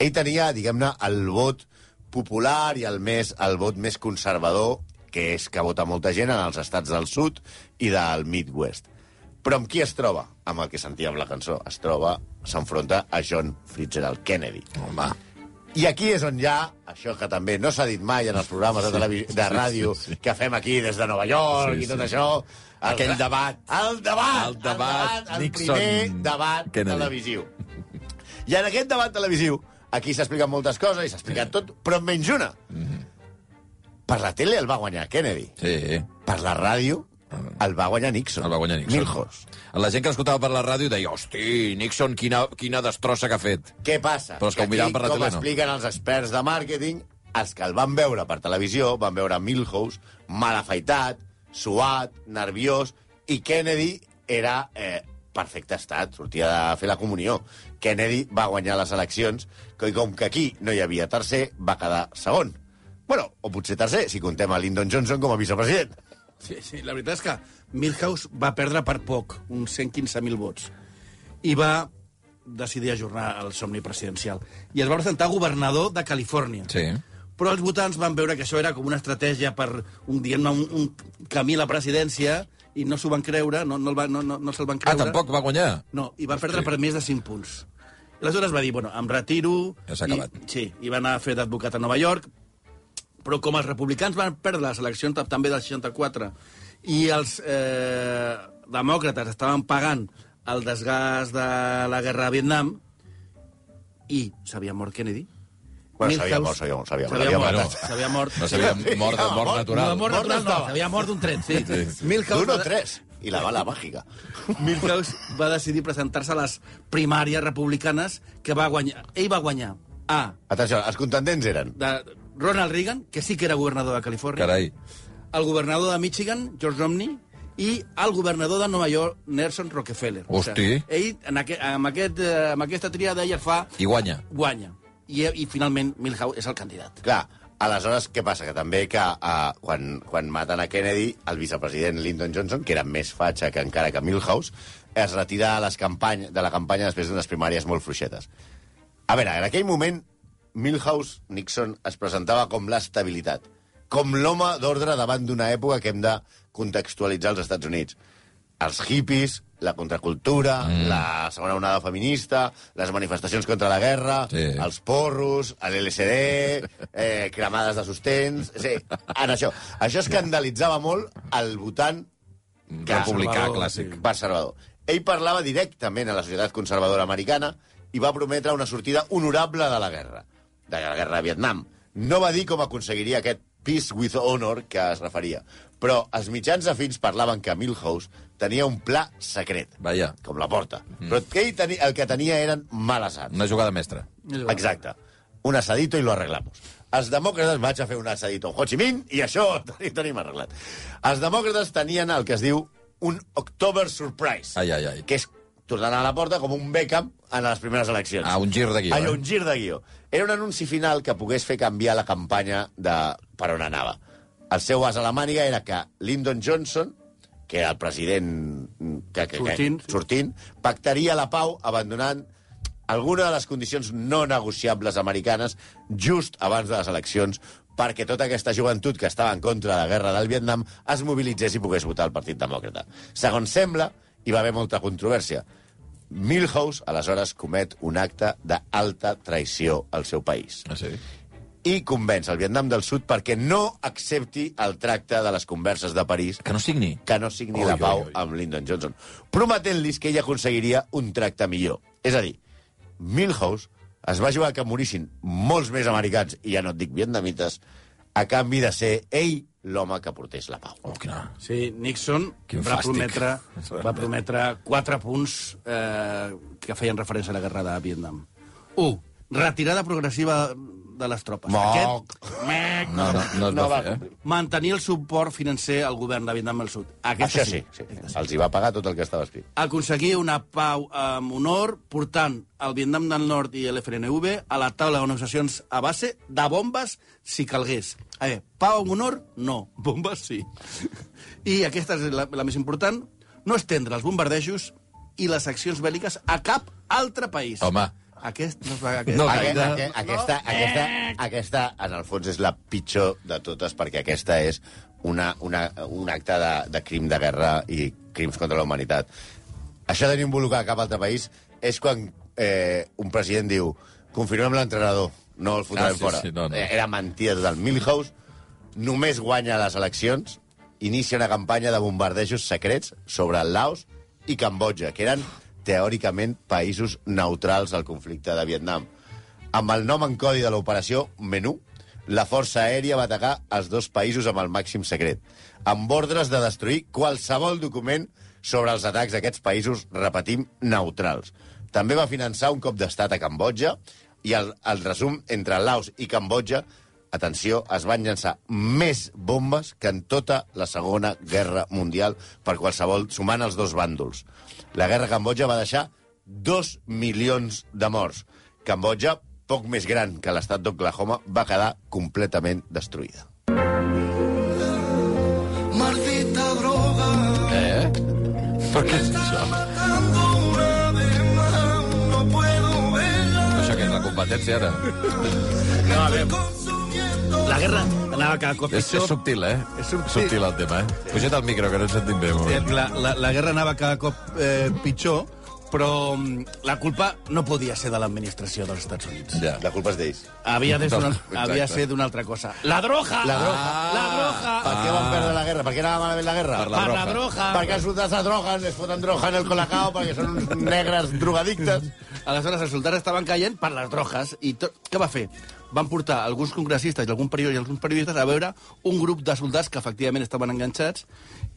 Speaker 3: Ell tenia, diguem-ne, el vot popular i el, més, el vot més conservador, que és que vota molta gent en els estats del sud i del Midwest. Però amb qui es troba? Amb el que sentíem la cançó. Es troba, s'enfronta a John Fitzgerald Kennedy.
Speaker 2: Home,
Speaker 3: I aquí és on hi ha, això que també no s'ha dit mai en els programes de, televi- de ràdio que fem aquí des de Nova York
Speaker 2: Sí,
Speaker 3: i tot
Speaker 2: sí.
Speaker 3: això... el-
Speaker 2: Aquell debat.
Speaker 3: El debat!
Speaker 2: El debat
Speaker 3: el,
Speaker 2: Nixon-
Speaker 3: primer debat
Speaker 2: Kennedy.
Speaker 3: televisiu. I en aquest debat televisiu, aquí s'expliquen moltes coses i s'ha explicat tot, però en menys una.
Speaker 2: Mhm.
Speaker 3: Per la tele el va guanyar Kennedy.
Speaker 2: sí,
Speaker 3: Per la ràdio el va guanyar Nixon.
Speaker 2: Ah. el va guanyar Nixon.
Speaker 3: Milhouse.
Speaker 2: La gent que l'escoltava per la ràdio deia, hosti, Nixon, quina, quina destrossa que ha fet.
Speaker 3: Què passa?
Speaker 2: Però és que ho
Speaker 3: aquí,
Speaker 2: miraven per la
Speaker 3: com
Speaker 2: tele, no?
Speaker 3: expliquen els experts de màrqueting, els que el van veure per televisió, van veure Milhouse, mal afaitat, suat, nerviós, i Kennedy era eh, perfecte estat, sortia de fer la comunió. Kennedy va guanyar les eleccions, i com que aquí no hi havia tercer, va quedar segon. Bueno, o potser tercer, si contem a Lyndon Johnson com a vicepresident.
Speaker 4: Sí, sí, la veritat és que Milhouse va perdre per poc, uns 115.000 vots, i va decidir ajornar el somni presidencial. I es va presentar governador de Califòrnia.
Speaker 2: Sí.
Speaker 4: Però els votants van veure que això era com una estratègia per un, diguem un, un camí a la presidència i no s'ho van creure, no, no, el va, no, no, no se'l van
Speaker 2: Ah,
Speaker 4: creure.
Speaker 2: tampoc va guanyar?
Speaker 4: No, i va perdre per més de 5 punts. Aleshores va dir, bueno, em retiro...
Speaker 2: Ja s'ha acabat.
Speaker 4: I, sí, i va anar a fer d'advocat a Nova York, però com els republicans van perdre les eleccions tam- també del 64 i els eh, demòcrates estaven pagant el desgast de la guerra de Vietnam i s'havia mort Kennedy.
Speaker 3: Bueno, s'havia
Speaker 4: Milhouse-
Speaker 3: mort, s'havia mort, s'havia mort,
Speaker 4: s'havia
Speaker 3: l'havia
Speaker 4: mort.
Speaker 2: matat.
Speaker 4: S'havia mort.
Speaker 2: No s'havia mort de mort natural.
Speaker 4: No, de mort
Speaker 3: Mort
Speaker 4: natural no,
Speaker 3: estava.
Speaker 4: s'havia mort d'un tret, sí.
Speaker 2: Sí, sí.
Speaker 4: Milhouse
Speaker 3: D'un o
Speaker 4: va-
Speaker 3: tres. I la bala màgica.
Speaker 4: Milhouse va decidir presentar-se a les primàries republicanes que va guanyar. Ell va guanyar a
Speaker 3: Atenció, els contendents eren...
Speaker 4: de Ronald Reagan, que sí que era governador de Califòrnia,
Speaker 2: Carai.
Speaker 4: el governador de Michigan, George Romney, i el governador de Nova York, Nelson Rockefeller.
Speaker 2: Hosti.
Speaker 4: ell, en aquest, amb, aquest, eh, amb aquesta triada, ell es fa...
Speaker 2: I guanya.
Speaker 4: Guanya. I, i finalment, Milhouse és el candidat.
Speaker 3: Clar, aleshores, què passa? Que també que eh, quan, quan maten a Kennedy, el vicepresident Lyndon Johnson, que era més fatxa que encara que Milhouse, es retira a les campany, de la campanya després d'unes primàries molt fluixetes. A veure, en aquell moment, Milhouse Nixon es presentava com l'estabilitat, com l'home d'ordre davant d'una època que hem de contextualitzar als Estats Units. Els hippies, la contracultura, mm. la segona onada feminista, les manifestacions contra la guerra,
Speaker 2: Sí.
Speaker 3: els els porros, l'LSD, eh, cremades de sostens... Sí, en això. Això escandalitzava molt el votant
Speaker 2: Republicà
Speaker 4: Salvador,
Speaker 2: clàssic.
Speaker 3: conservador. Ell parlava directament a la societat conservadora americana i va prometre una sortida honorable de la guerra, de la guerra de Vietnam. No va dir com aconseguiria aquest peace with honor que es referia, però els mitjans afins parlaven que Milhouse tenia un pla secret,
Speaker 2: Vaja.
Speaker 3: com la porta. Mm. Però que ell tenia, el que tenia eren males arts.
Speaker 2: Una jugada mestra.
Speaker 3: Exacte. Un asadito i lo arreglamos. Els demòcrates vaig a fer un asadito amb Ho Chi Minh i això ho tenim arreglat. Els demòcrates tenien el que es diu un October Surprise.
Speaker 2: Ai, ai, ai.
Speaker 3: Que és tornant a la porta com un Beckham en les primeres eleccions.
Speaker 2: Ah, un gir de guió,
Speaker 3: Allò,
Speaker 2: eh?
Speaker 3: un gir de guió. Era un anunci final que pogués fer canviar la campanya de per on anava. El seu as a la màniga era que Lyndon Johnson, que era el president que, que,
Speaker 4: Sortint,
Speaker 3: que,
Speaker 4: sí.
Speaker 3: sortint pactaria la pau abandonant alguna de les condicions no negociables americanes just abans de les eleccions perquè tota aquesta joventut que estava en contra de la guerra del Vietnam es mobilitzés i pogués votar el Partit Demòcrata. Segons sembla, hi va haver molta controvèrsia. Milhouse, aleshores, comet un acte d'alta traïció al seu país
Speaker 2: Ah, sí.
Speaker 3: i convenç el Vietnam del Sud perquè no accepti el tracte de les converses de París
Speaker 2: Que no signi.
Speaker 3: que no signi
Speaker 2: Oi,
Speaker 3: la
Speaker 2: oi,
Speaker 3: pau
Speaker 2: oi.
Speaker 3: amb Lyndon Johnson, prometent-los que ell aconseguiria un tracte millor. És a dir, Milhouse es va jugar que morissin molts més americans, i ja no et dic vietnamites, a canvi de ser ell l'home que portés la pau.
Speaker 2: Oh, quina...
Speaker 4: Sí, Nixon
Speaker 2: Quin
Speaker 4: va
Speaker 2: fàstic.
Speaker 4: prometre, va prometre quatre punts eh, que feien referència a la guerra de Vietnam. 1. Retirada progressiva de les tropes.
Speaker 3: Moc.
Speaker 4: Mec.
Speaker 2: No, no, no es
Speaker 3: No
Speaker 2: no va,
Speaker 3: va
Speaker 2: fer, eh?
Speaker 3: complir.
Speaker 4: Mantenir el suport financer al govern de Vietnam del Sud. Aquesta
Speaker 3: Això sí, sí, els hi va pagar tot el que estava escrit.
Speaker 4: aconseguir una pau amb honor portant el Vietnam del Nord i l'FNV a la taula de negociacions a base de bombes si calgués. A veure, pau amb honor, no. Bombes, sí. I aquesta és la, la més important. No estendre els bombardejos i les accions bèl·liques a cap altre país.
Speaker 2: Home.
Speaker 4: Aquest no es va... Aquest.
Speaker 2: No,
Speaker 3: Aquest,
Speaker 2: Gaire.
Speaker 3: aquest, aquesta, aquesta, aquesta, en el fons, és la pitjor de totes, perquè aquesta és una, una, un acte de, de crim de guerra i crims contra la humanitat. Això de no involucrar cap altre país és quan eh, un president diu confirmem l'entrenador, no el
Speaker 2: Ah,
Speaker 3: fotrem
Speaker 2: sí,
Speaker 3: fora.
Speaker 2: sí, no, no.
Speaker 3: Eh, Era mentida total. Milhouse només guanya les eleccions, inicia una campanya de bombardejos secrets sobre el Laos i Cambodja, que eren teòricament països neutrals al conflicte de Vietnam. Amb el nom en codi de l'operació Menú, la força aèria va atacar els dos països amb el màxim secret, amb ordres de destruir qualsevol document sobre els atacs d'aquests països, repetim, neutrals. També va finançar un cop d'estat a Cambodja i el, el resum entre Laos i Cambodja atenció, es van llançar més bombes que en tota la Segona Guerra Mundial per qualsevol, sumant els dos bàndols. La guerra a Cambodja va deixar dos milions de morts. Cambodja, poc més gran que l'estat d'Oklahoma, va quedar completament destruïda.
Speaker 2: Eh? Per què és això? Això que és la competència, ara.
Speaker 4: La guerra anava cada cop
Speaker 2: És, és
Speaker 4: pitjor.
Speaker 2: subtil, eh?
Speaker 4: És subtil.
Speaker 2: subtil el tema, eh? Puja't al micro, que no ens sentim bé. Molt.
Speaker 4: Eh,
Speaker 2: bé.
Speaker 4: La, la, la guerra anava cada cop eh, pitjor, però mm, la culpa no podia ser de l'administració dels Estats Units.
Speaker 2: Ja.
Speaker 3: La culpa és d'ells.
Speaker 4: Havia de ser una,
Speaker 2: Exacte. Ah.
Speaker 4: havia de ser d'una altra cosa. La droja!
Speaker 3: La droja.
Speaker 4: La droja!
Speaker 3: Per què van perdre la guerra? Per què anava malament la guerra?
Speaker 2: Per la
Speaker 4: Per la
Speaker 2: droja.
Speaker 4: droja!
Speaker 3: Perquè els soldats de drogen, es foten droga en el colacao perquè són uns negres drogadictes.
Speaker 4: Aleshores, els soldats estaven caient per les drojes. I tot... què va fer? Van portar alguns congressistes i, algun periodista, i alguns periodistes a veure un grup de soldats que efectivament estaven enganxats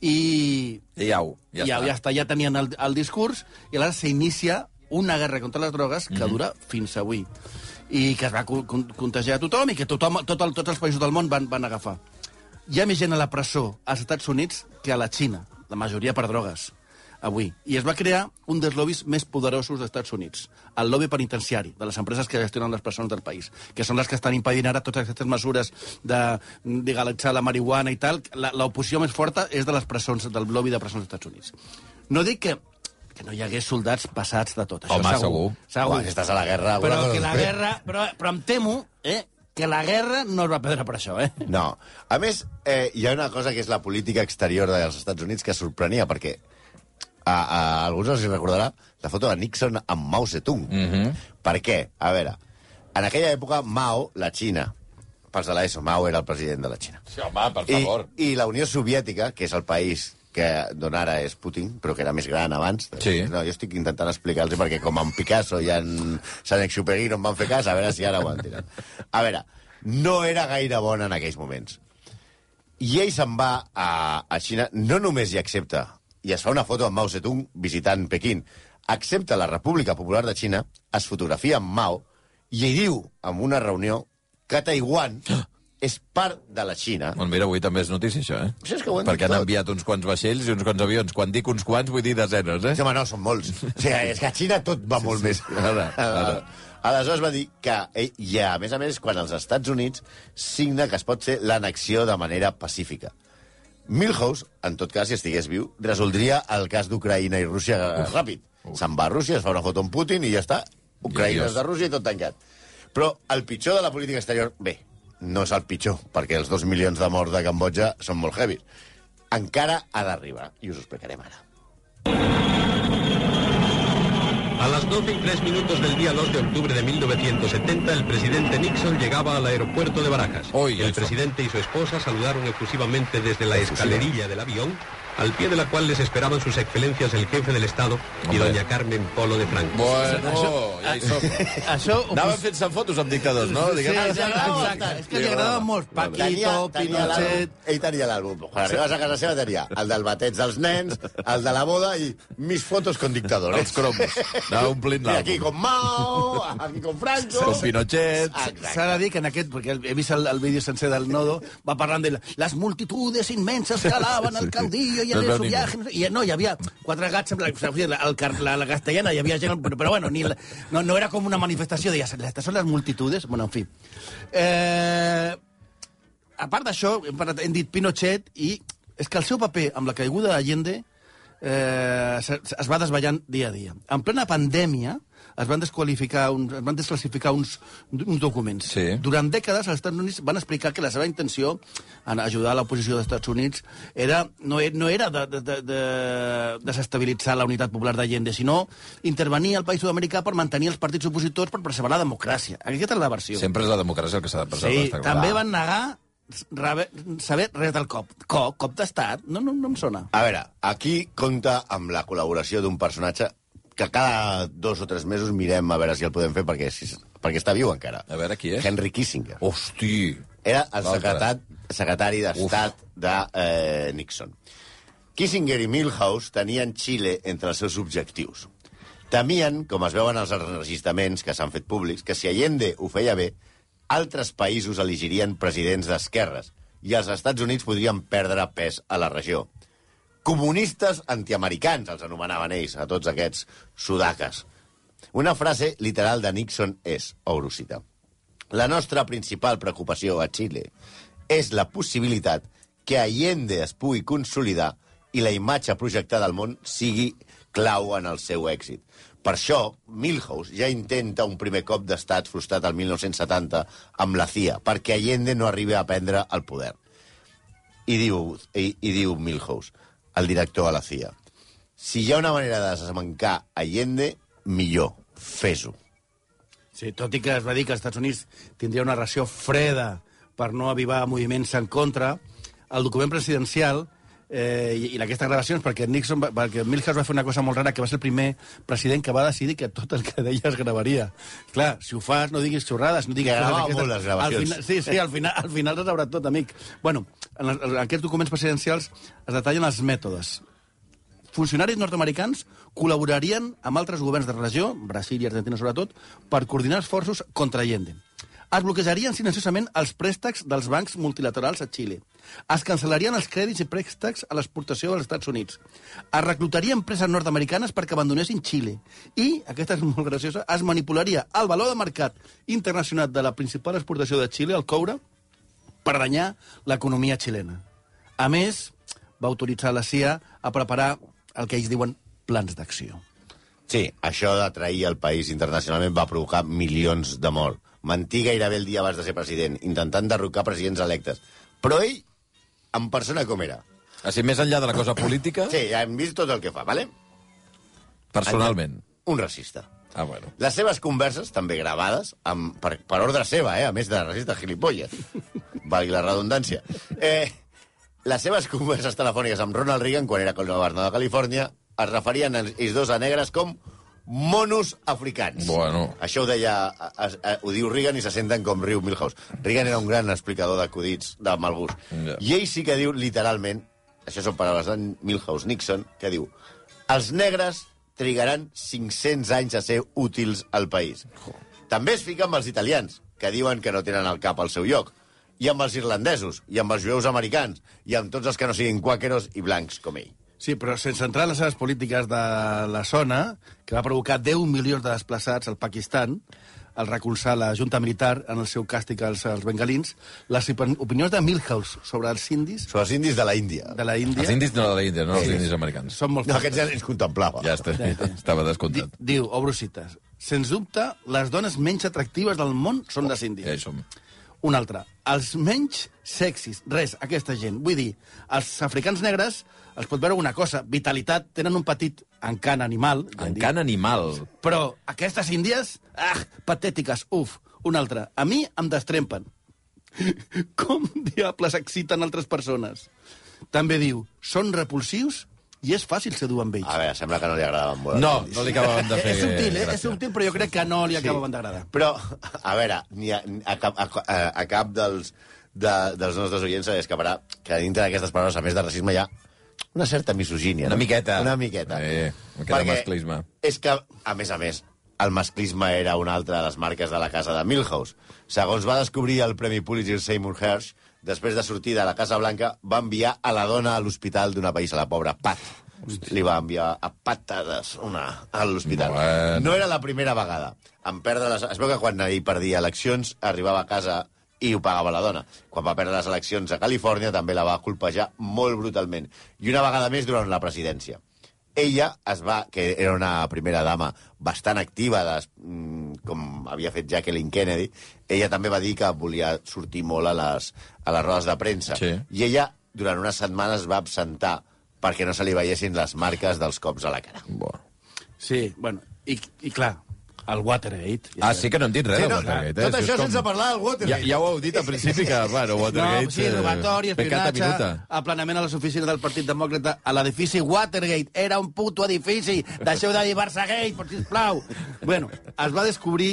Speaker 4: i
Speaker 2: I au, ja,
Speaker 4: ja, ja,
Speaker 2: està.
Speaker 4: ja, està, ja tenien el, el discurs i aleshores s'inicia una guerra contra les drogues que
Speaker 2: Mhm.
Speaker 4: dura fins avui i que es va con- con- contagiar a tothom i que tothom, tot el, tots els països del món van, van agafar. hi ha més gent a la presó als Estats Units que a la Xina, la majoria per drogues, avui. I es va crear un dels lobbies més poderosos dels Estats Units, el lobby penitenciari, de les empreses que gestionen les persones del país, que són les que estan impedint ara totes aquestes mesures de mm, legalitzar la marihuana i tal. La- L'oposició més forta és de les presons, del lobby de presons dels Estats Units. No dic que que no hi hagués soldats passats de tot. Això
Speaker 2: Home,
Speaker 4: segur.
Speaker 2: segur.
Speaker 3: Uah, si estàs a la guerra... alguna
Speaker 4: Però
Speaker 3: cosa
Speaker 4: que
Speaker 3: has
Speaker 4: la
Speaker 3: fet.
Speaker 4: guerra... Però, però em temo eh, que la guerra no es va perdre per això, eh?
Speaker 3: No. A més, eh, hi ha una cosa que és la política exterior dels Estats Units que sorprenia, perquè a, a alguns els hi recordarà la foto de Nixon amb Mao Zedong. Mm -hmm. Per què? A veure, en aquella època Mao, la Xina, pels de l'ESO, Mao era el president de la Xina.
Speaker 2: Sí, home, per
Speaker 3: I, I la Unió Soviètica, que és el país que d'on ara és Putin, però que era més gran abans.
Speaker 2: Sí.
Speaker 3: No, jo estic intentant explicar-los perquè com en Picasso i en Sant Exuperi no em van fer cas, a veure si ara ho entenen. A veure, no era gaire bona en aquells moments. I ell se'n va a, a Xina, no només hi accepta, i es fa una foto amb Mao Zedong visitant Pequín, accepta la República Popular de Xina, es fotografia amb Mao, i ell diu, en una reunió, que Taiwan
Speaker 2: Ah!
Speaker 3: és part de la Xina.
Speaker 2: Bon, Doncs mira, avui també és notícia, això, eh?
Speaker 3: Això és que ho han dit
Speaker 2: Perquè han
Speaker 3: tot.
Speaker 2: enviat uns quants vaixells i uns quants avions. Quan dic uns quants, vull dir desenes, eh?
Speaker 3: Sí, home, no, són molts. O sigui, és que a Xina tot va molt més.
Speaker 2: Ara, ara.
Speaker 3: Aleshores va dir que, eh, i a més a més, quan els Estats Units signa que es pot fer l'annexió de manera pacífica. Milhouse, en tot cas, si estigués viu, resoldria el cas d'Ucraïna i Rússia eh, ràpid. Se'n va a Rússia, es fa una foto amb Putin i ja està.
Speaker 2: I
Speaker 3: Ucraïna
Speaker 2: adiós.
Speaker 3: és de Rússia i tot tancat. Però el pitjor de la política exterior, bé, no és el pitjor, perquè els dos milions de morts de Cambodja són molt heavy. Encara ha d'arribar, i us ho explicarem ara.
Speaker 7: A las 12 y 3 minutos del día 2 de octubre de 1970, el presidente Nixon llegaba al aeropuerto de Barajas.
Speaker 2: Oy,
Speaker 7: el
Speaker 2: eso.
Speaker 7: presidente y su esposa saludaron efusivamente desde la escalerilla del avión, al pie de la cual les esperaban sus excelencias el jefe del Estado y
Speaker 2: Hombre.
Speaker 7: doña Carmen Polo de Franco.
Speaker 2: Bueno, ja hi som.
Speaker 4: Això... ho
Speaker 2: Anàvem
Speaker 4: pos-
Speaker 2: fent-se fotos amb dictadors, no?
Speaker 4: Sí,
Speaker 2: Diguem- "Ah,
Speaker 4: exacte, exacte. És que li agradava molt. Paquito, Pinochet...
Speaker 3: l'àlbum- Ell tenia l'àlbum. Quan arribaves a casa seva tenia el del bateig dels nens, el de la boda i mis fotos con dictadores.
Speaker 2: Els cromos. Anava omplint
Speaker 3: I aquí
Speaker 2: l'àlbum.
Speaker 3: con Mao, aquí con Franco...
Speaker 2: Con Pinochet.
Speaker 3: Exacte.
Speaker 4: S'ha de dir que en aquest, perquè he vist el, el vídeo sencer del Nodo, va parlant de la- les multitudes inmenses que alaban al caudillo i
Speaker 2: No
Speaker 4: el
Speaker 2: es
Speaker 4: de
Speaker 2: veu
Speaker 4: su
Speaker 2: ningú.
Speaker 4: viaje. No, sé- i, no, hi havia quatre gats, sembla, o sigui, la, el, car- la, la castellana, hi havia gent, però, però bueno, ni la, no, no era com una manifestació, deies, aquestes són les multitudes, bueno, en fi. Eh, a part d'això, hem, parlat- hem dit Pinochet i és que el seu paper amb la caiguda d'Allende eh, se- se- es va desballant dia a dia. En plena pandèmia es van desqualificar, uns, es van desclassificar uns, uns documents.
Speaker 2: Sí.
Speaker 4: Durant dècades els Estats Units van explicar que la seva intenció en ajudar a l'oposició dels Estats Units era, no, e- no era de, de, de, de desestabilitzar la unitat popular d'Allende, sinó intervenir al país sud-americà per mantenir els partits opositors per preservar la democràcia. Aquesta és la versió.
Speaker 2: Sempre és la democràcia el que s'ha de preservar.
Speaker 4: Sí,
Speaker 2: està clar.
Speaker 4: també van negar rabe- saber res del cop. Cop, cop d'estat? No, no, no em sona.
Speaker 3: A veure, aquí compta amb la col·laboració d'un personatge que cada dos o tres mesos mirem a veure si el podem fer, perquè, si, perquè està viu encara.
Speaker 2: A veure, qui és?
Speaker 3: Henry Kissinger.
Speaker 2: Hosti!
Speaker 3: Era el
Speaker 2: L'altre.
Speaker 3: secretat, secretari d'Estat de eh, Nixon. Kissinger i Milhouse tenien Xile entre els seus objectius. Temien, com es veuen els enregistraments que s'han fet públics, que si Allende ho feia bé, altres països elegirien presidents d'esquerres i els Estats Units podrien perdre pes a la regió. Comunistes antiamericans els anomenaven ells, a tots aquests sudaques. Una frase literal de Nixon és, obro cita, la nostra principal preocupació a Xile és la possibilitat que Allende es pugui consolidar i la imatge projectada al món sigui clau en el seu èxit. Per això, Milhouse ja intenta un primer cop d'estat frustrat al 1970 amb la CIA, perquè Allende no arribi a prendre el poder. I diu, i, i diu Milhouse, el director a la CIA, si hi ha una manera de desmancar Allende, millor, fes-ho.
Speaker 4: Sí, tot i que es va dir que els Estats Units tindria una ració freda per no avivar moviments en contra, el document presidencial eh, i, i aquestes gravacions, perquè Nixon, va, perquè Milhouse va fer una cosa molt rara, que va ser el primer president que va decidir que tot el que deia es gravaria. Clar, si ho fas, no diguis xorrades, no diguis...
Speaker 3: Que gravava
Speaker 4: coses
Speaker 3: molt les gravacions.
Speaker 4: Al final, sí, sí, al final, al final es veurà tot, amic. Bueno, en, les- en aquests documents presidencials es detallen els mètodes funcionaris nord-americans col·laborarien amb altres governs de la regió, Brasil i Argentina sobretot, per coordinar esforços contra Allende. Es bloquejarien silenciosament els préstecs dels bancs multilaterals a Xile. Es cancel·larien els crèdits i préstecs a l'exportació dels Estats Units. Es reclutaria empreses nord-americanes perquè abandonessin Xile. I, aquesta és molt graciosa, es manipularia el valor de mercat internacional de la principal exportació de Xile, el coure, per danyar l'economia xilena. A més, va autoritzar la CIA a preparar el que ells diuen plans d'acció.
Speaker 3: Sí, això d'atrair el país internacionalment va provocar milions de morts. Mentir gairebé el dia abans de ser president, intentant derrocar presidents electes. Però ell, en persona com era.
Speaker 2: Així, més enllà de la cosa política,
Speaker 3: Sí, ja hem vist tot el que fa, vale?
Speaker 2: personalment.
Speaker 3: Un racista.
Speaker 2: Ah, bueno.
Speaker 3: Les seves converses, també gravades, amb, per, per ordre seva, eh? a més de racista gilipolles, valgui la redundància. Eh, les seves converses telefòniques amb Ronald Reagan, quan era governador de Califòrnia, es referien a ells dos a negres com monos africans.
Speaker 2: Bueno.
Speaker 3: Això ho deia, a, a, a, ho diu Reagan i se senten com riu Milhouse. Reagan era un gran explicador d'acudits de mal gust.
Speaker 2: Ja.
Speaker 3: I ell sí que diu, literalment, això són paraules de Milhouse Nixon, que diu, els negres trigaran 500 anys a ser útils al país. També es fica amb els italians, que diuen que no tenen el cap al seu lloc, i amb els irlandesos, i amb els jueus americans, i amb tots els que no siguin quàqueros i blancs com ell.
Speaker 4: Sí, però sense entrar en les seves polítiques de la zona, que va provocar 10 milions de desplaçats al Pakistan, al recolzar la junta militar en el seu càstig als, als bengalins, les opin- opinions de Milhouse sobre els indis
Speaker 3: Són els indis de la Índia.
Speaker 4: de la
Speaker 2: Els
Speaker 4: Índia
Speaker 2: indis no de l'Índia, no els indis americans.
Speaker 4: són molt
Speaker 3: No, aquests ja els contemplava.
Speaker 2: Ja està, estava descomptat.
Speaker 4: Di- Diu, obro cites, sens dubte, les dones menys atractives del món són
Speaker 3: Eh,
Speaker 4: les índies.
Speaker 2: Ja hi Eh, som.
Speaker 4: Un altre. Els menys sexis. Res, aquesta gent. Vull dir, els africans negres els pot veure una cosa. Vitalitat, tenen un petit encant animal. ja dic.
Speaker 2: Encant animal.
Speaker 4: Però aquestes índies, ah, patètiques, uf. Un altre. A mi em destrempen. Com diables exciten altres persones? També diu, són repulsius i és fàcil seduir amb ells.
Speaker 3: A veure, sembla que no li agradaven molt.
Speaker 2: No,
Speaker 3: els indis.
Speaker 2: no li acabàvem de fer...
Speaker 4: és subtil, eh?
Speaker 2: gràcia.
Speaker 4: És subtil, però jo crec que no li acabaven d'agradar.
Speaker 3: Però, a veure, ni a, ni a, cap, a, a, a cap dels, de, dels nostres oients se li escaparà que dintre d'aquestes paraules, a més de racisme, hi ha una certa misogínia.
Speaker 2: Una
Speaker 3: no?
Speaker 2: miqueta.
Speaker 3: Una miqueta.
Speaker 2: Sí, una miqueta de masclisme.
Speaker 3: És que, a més a més, el masclisme era una altra de les marques de la casa de Milhouse. Segons va descobrir el Premi Pulitzer Seymour Hersh, després de sortir de la Casa Blanca, va enviar a la dona a l'hospital d'una país, a la pobra Pat. Li va enviar a patades una a l'hospital.
Speaker 2: Bueno.
Speaker 3: No era la primera vegada. En perdre les... Es veu que quan ell perdia eleccions, arribava a casa i ho pagava la dona. Quan va perdre les eleccions a Califòrnia, també la va colpejar molt brutalment. I una vegada més durant la presidència. Ella es va, que era una primera dama bastant activa, des, mm, com havia fet Jacqueline Kennedy, ella també va dir que volia sortir molt a les, a les rodes de premsa.
Speaker 2: Sí.
Speaker 3: I ella, durant unes setmanes, va absentar perquè no se li veiessin les marques dels cops a la cara.
Speaker 2: Bueno.
Speaker 4: Sí, bueno, i, i clar, el Watergate...
Speaker 2: Ah, sí que no hem dit res
Speaker 3: Sí,
Speaker 2: de
Speaker 3: no,
Speaker 2: Watergate.
Speaker 3: tot
Speaker 2: eh? Si
Speaker 3: això
Speaker 2: és
Speaker 3: sense parlar del Watergate.
Speaker 2: Ja, ja ho heu dit al principi, que, bueno, Watergate...
Speaker 4: No, sí,
Speaker 2: eh,
Speaker 4: robatori,
Speaker 2: pecata
Speaker 4: espionatge,
Speaker 2: minuta.
Speaker 4: aplanament a les oficines del Partit Demòcrata a l'edifici Watergate. Era un puto edifici. Deixeu de dir Barçagate, per sisplau. Bueno, es va descobrir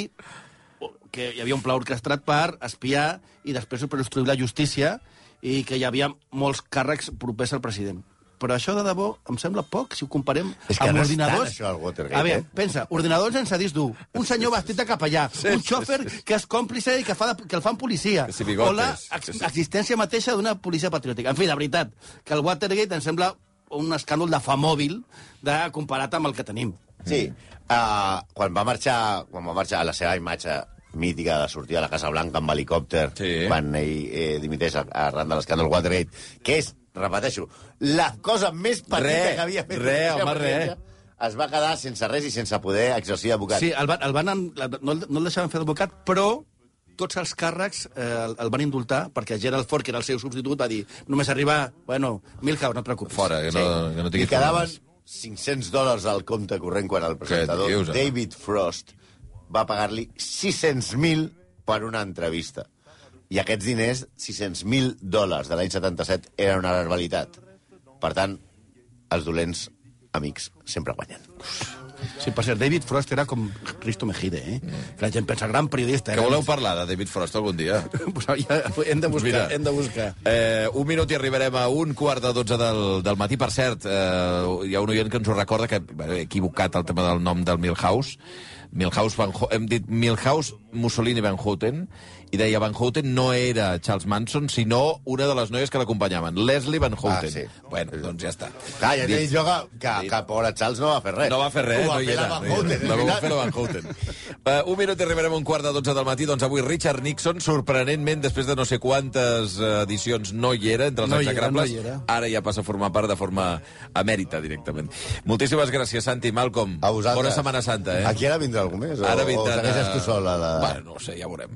Speaker 4: que hi havia un pla orquestrat per espiar i després per obstruir la justícia i que hi havia molts càrrecs propers al president. Però això de debò em sembla poc si ho comparem
Speaker 3: És que
Speaker 4: amb
Speaker 3: no és
Speaker 4: ordinadors.
Speaker 3: tant, això, el Watergate,
Speaker 4: a veure,
Speaker 3: eh?
Speaker 4: pensa, ordinadors sense disc dur, un senyor vestit de capellà, un xòfer que és còmplice i que, fa de, que el fan policia,
Speaker 2: Que si bigotes.
Speaker 4: o la ex
Speaker 2: Sí, sí.
Speaker 4: existència mateixa d'una policia patriòtica. En fi, de veritat, que el Watergate em sembla un escàndol de fa mòbil de comparat amb el que tenim.
Speaker 3: Sí.
Speaker 2: Mm.
Speaker 3: Uh, quan va marxar, quan va marxar a la seva imatge mítica de sortir a la Casa Blanca amb helicòpter
Speaker 2: Sí.
Speaker 3: quan ell eh, dimiteix a- arran de l'escàndol Watergate, que és, repeteixo, la cosa més petita
Speaker 2: Re,
Speaker 3: que havia fet.
Speaker 2: re,
Speaker 3: la seva
Speaker 2: home, re.
Speaker 3: presidència, Es va quedar sense res i sense poder exercir d'advocat.
Speaker 4: Sí, el van, el van, en- la- no, el- no el deixaven fer advocat, però tots els càrrecs eh, el, el van indultar perquè Gerald Ford, que era el seu substitut, va dir només arribar, bueno, Milhouse, no et preocupis.
Speaker 2: Fora, que no, que no
Speaker 3: Li
Speaker 2: tinguis
Speaker 3: quedaven
Speaker 2: problemes.
Speaker 3: 500 dòlars al compte corrent quan el presentador
Speaker 2: dius, home?
Speaker 3: David Frost va pagar-li 600.000 per una entrevista. I aquests diners, 600.000 dòlars de l'any 77, era una barbaritat. Per tant, els dolents amics sempre guanyen.
Speaker 4: Sí, per cert, David Frost era com Risto Mejide, eh? Que la gent pensa, gran periodista.
Speaker 2: Que
Speaker 4: era-
Speaker 2: voleu parlar de David Frost algun dia?
Speaker 4: Pues ja, hem de buscar,
Speaker 2: Doncs Mira.
Speaker 4: hem de buscar.
Speaker 2: Eh, un minut i arribarem a un quart de dotze del, del matí. Per cert, eh, hi ha un oient que ens ho recorda, que bé, he equivocat el tema del nom del Milhouse. Milhouse Van Ho- hem dit Milhouse, Mussolini Van Houten, i deia Van Houten no era Charles Manson, sinó una de les noies que l'acompanyaven, Leslie Van Houten.
Speaker 3: Ah, sí.
Speaker 2: Bueno, doncs ja està.
Speaker 3: Clar,
Speaker 4: Ah,
Speaker 3: ja t'he dit jo que, que, que pobre Charles no va fer res.
Speaker 2: No va fer res,
Speaker 3: Ho va
Speaker 2: no hi
Speaker 3: fer
Speaker 2: era.
Speaker 3: la Van
Speaker 2: no hi era.
Speaker 3: Houten,
Speaker 2: La
Speaker 3: al
Speaker 2: va
Speaker 3: final.
Speaker 2: fer la Van Houten. Uh, un minut i arribarem a un quart de 12 del matí. Doncs avui Richard Nixon, sorprenentment, després de no sé quantes eh, edicions, no hi era entre els
Speaker 4: No hi era,
Speaker 2: execrables.
Speaker 4: no hi era.
Speaker 2: Ara ja passa a formar part de forma emèrita, directament. Moltíssimes gràcies, Santi i Malcolm.
Speaker 3: A vosaltres.
Speaker 2: Bona Setmana Santa, eh?
Speaker 3: Aquí ara vindrà algú més? O,
Speaker 2: Ara
Speaker 3: o
Speaker 2: vindran...
Speaker 3: segueixes tu sol a la...
Speaker 2: Bueno, no ho sé, ja veurem.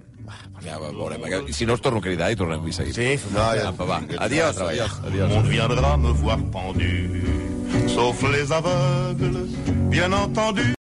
Speaker 2: Ja veurem. Si no, us torno a cridar i tornem a seguir.
Speaker 3: Sí, no, ja...
Speaker 2: Apa, va. Adiós, adiós, adiós.
Speaker 1: On viendra me voir pendu, sauf les aveugles, bien entendu.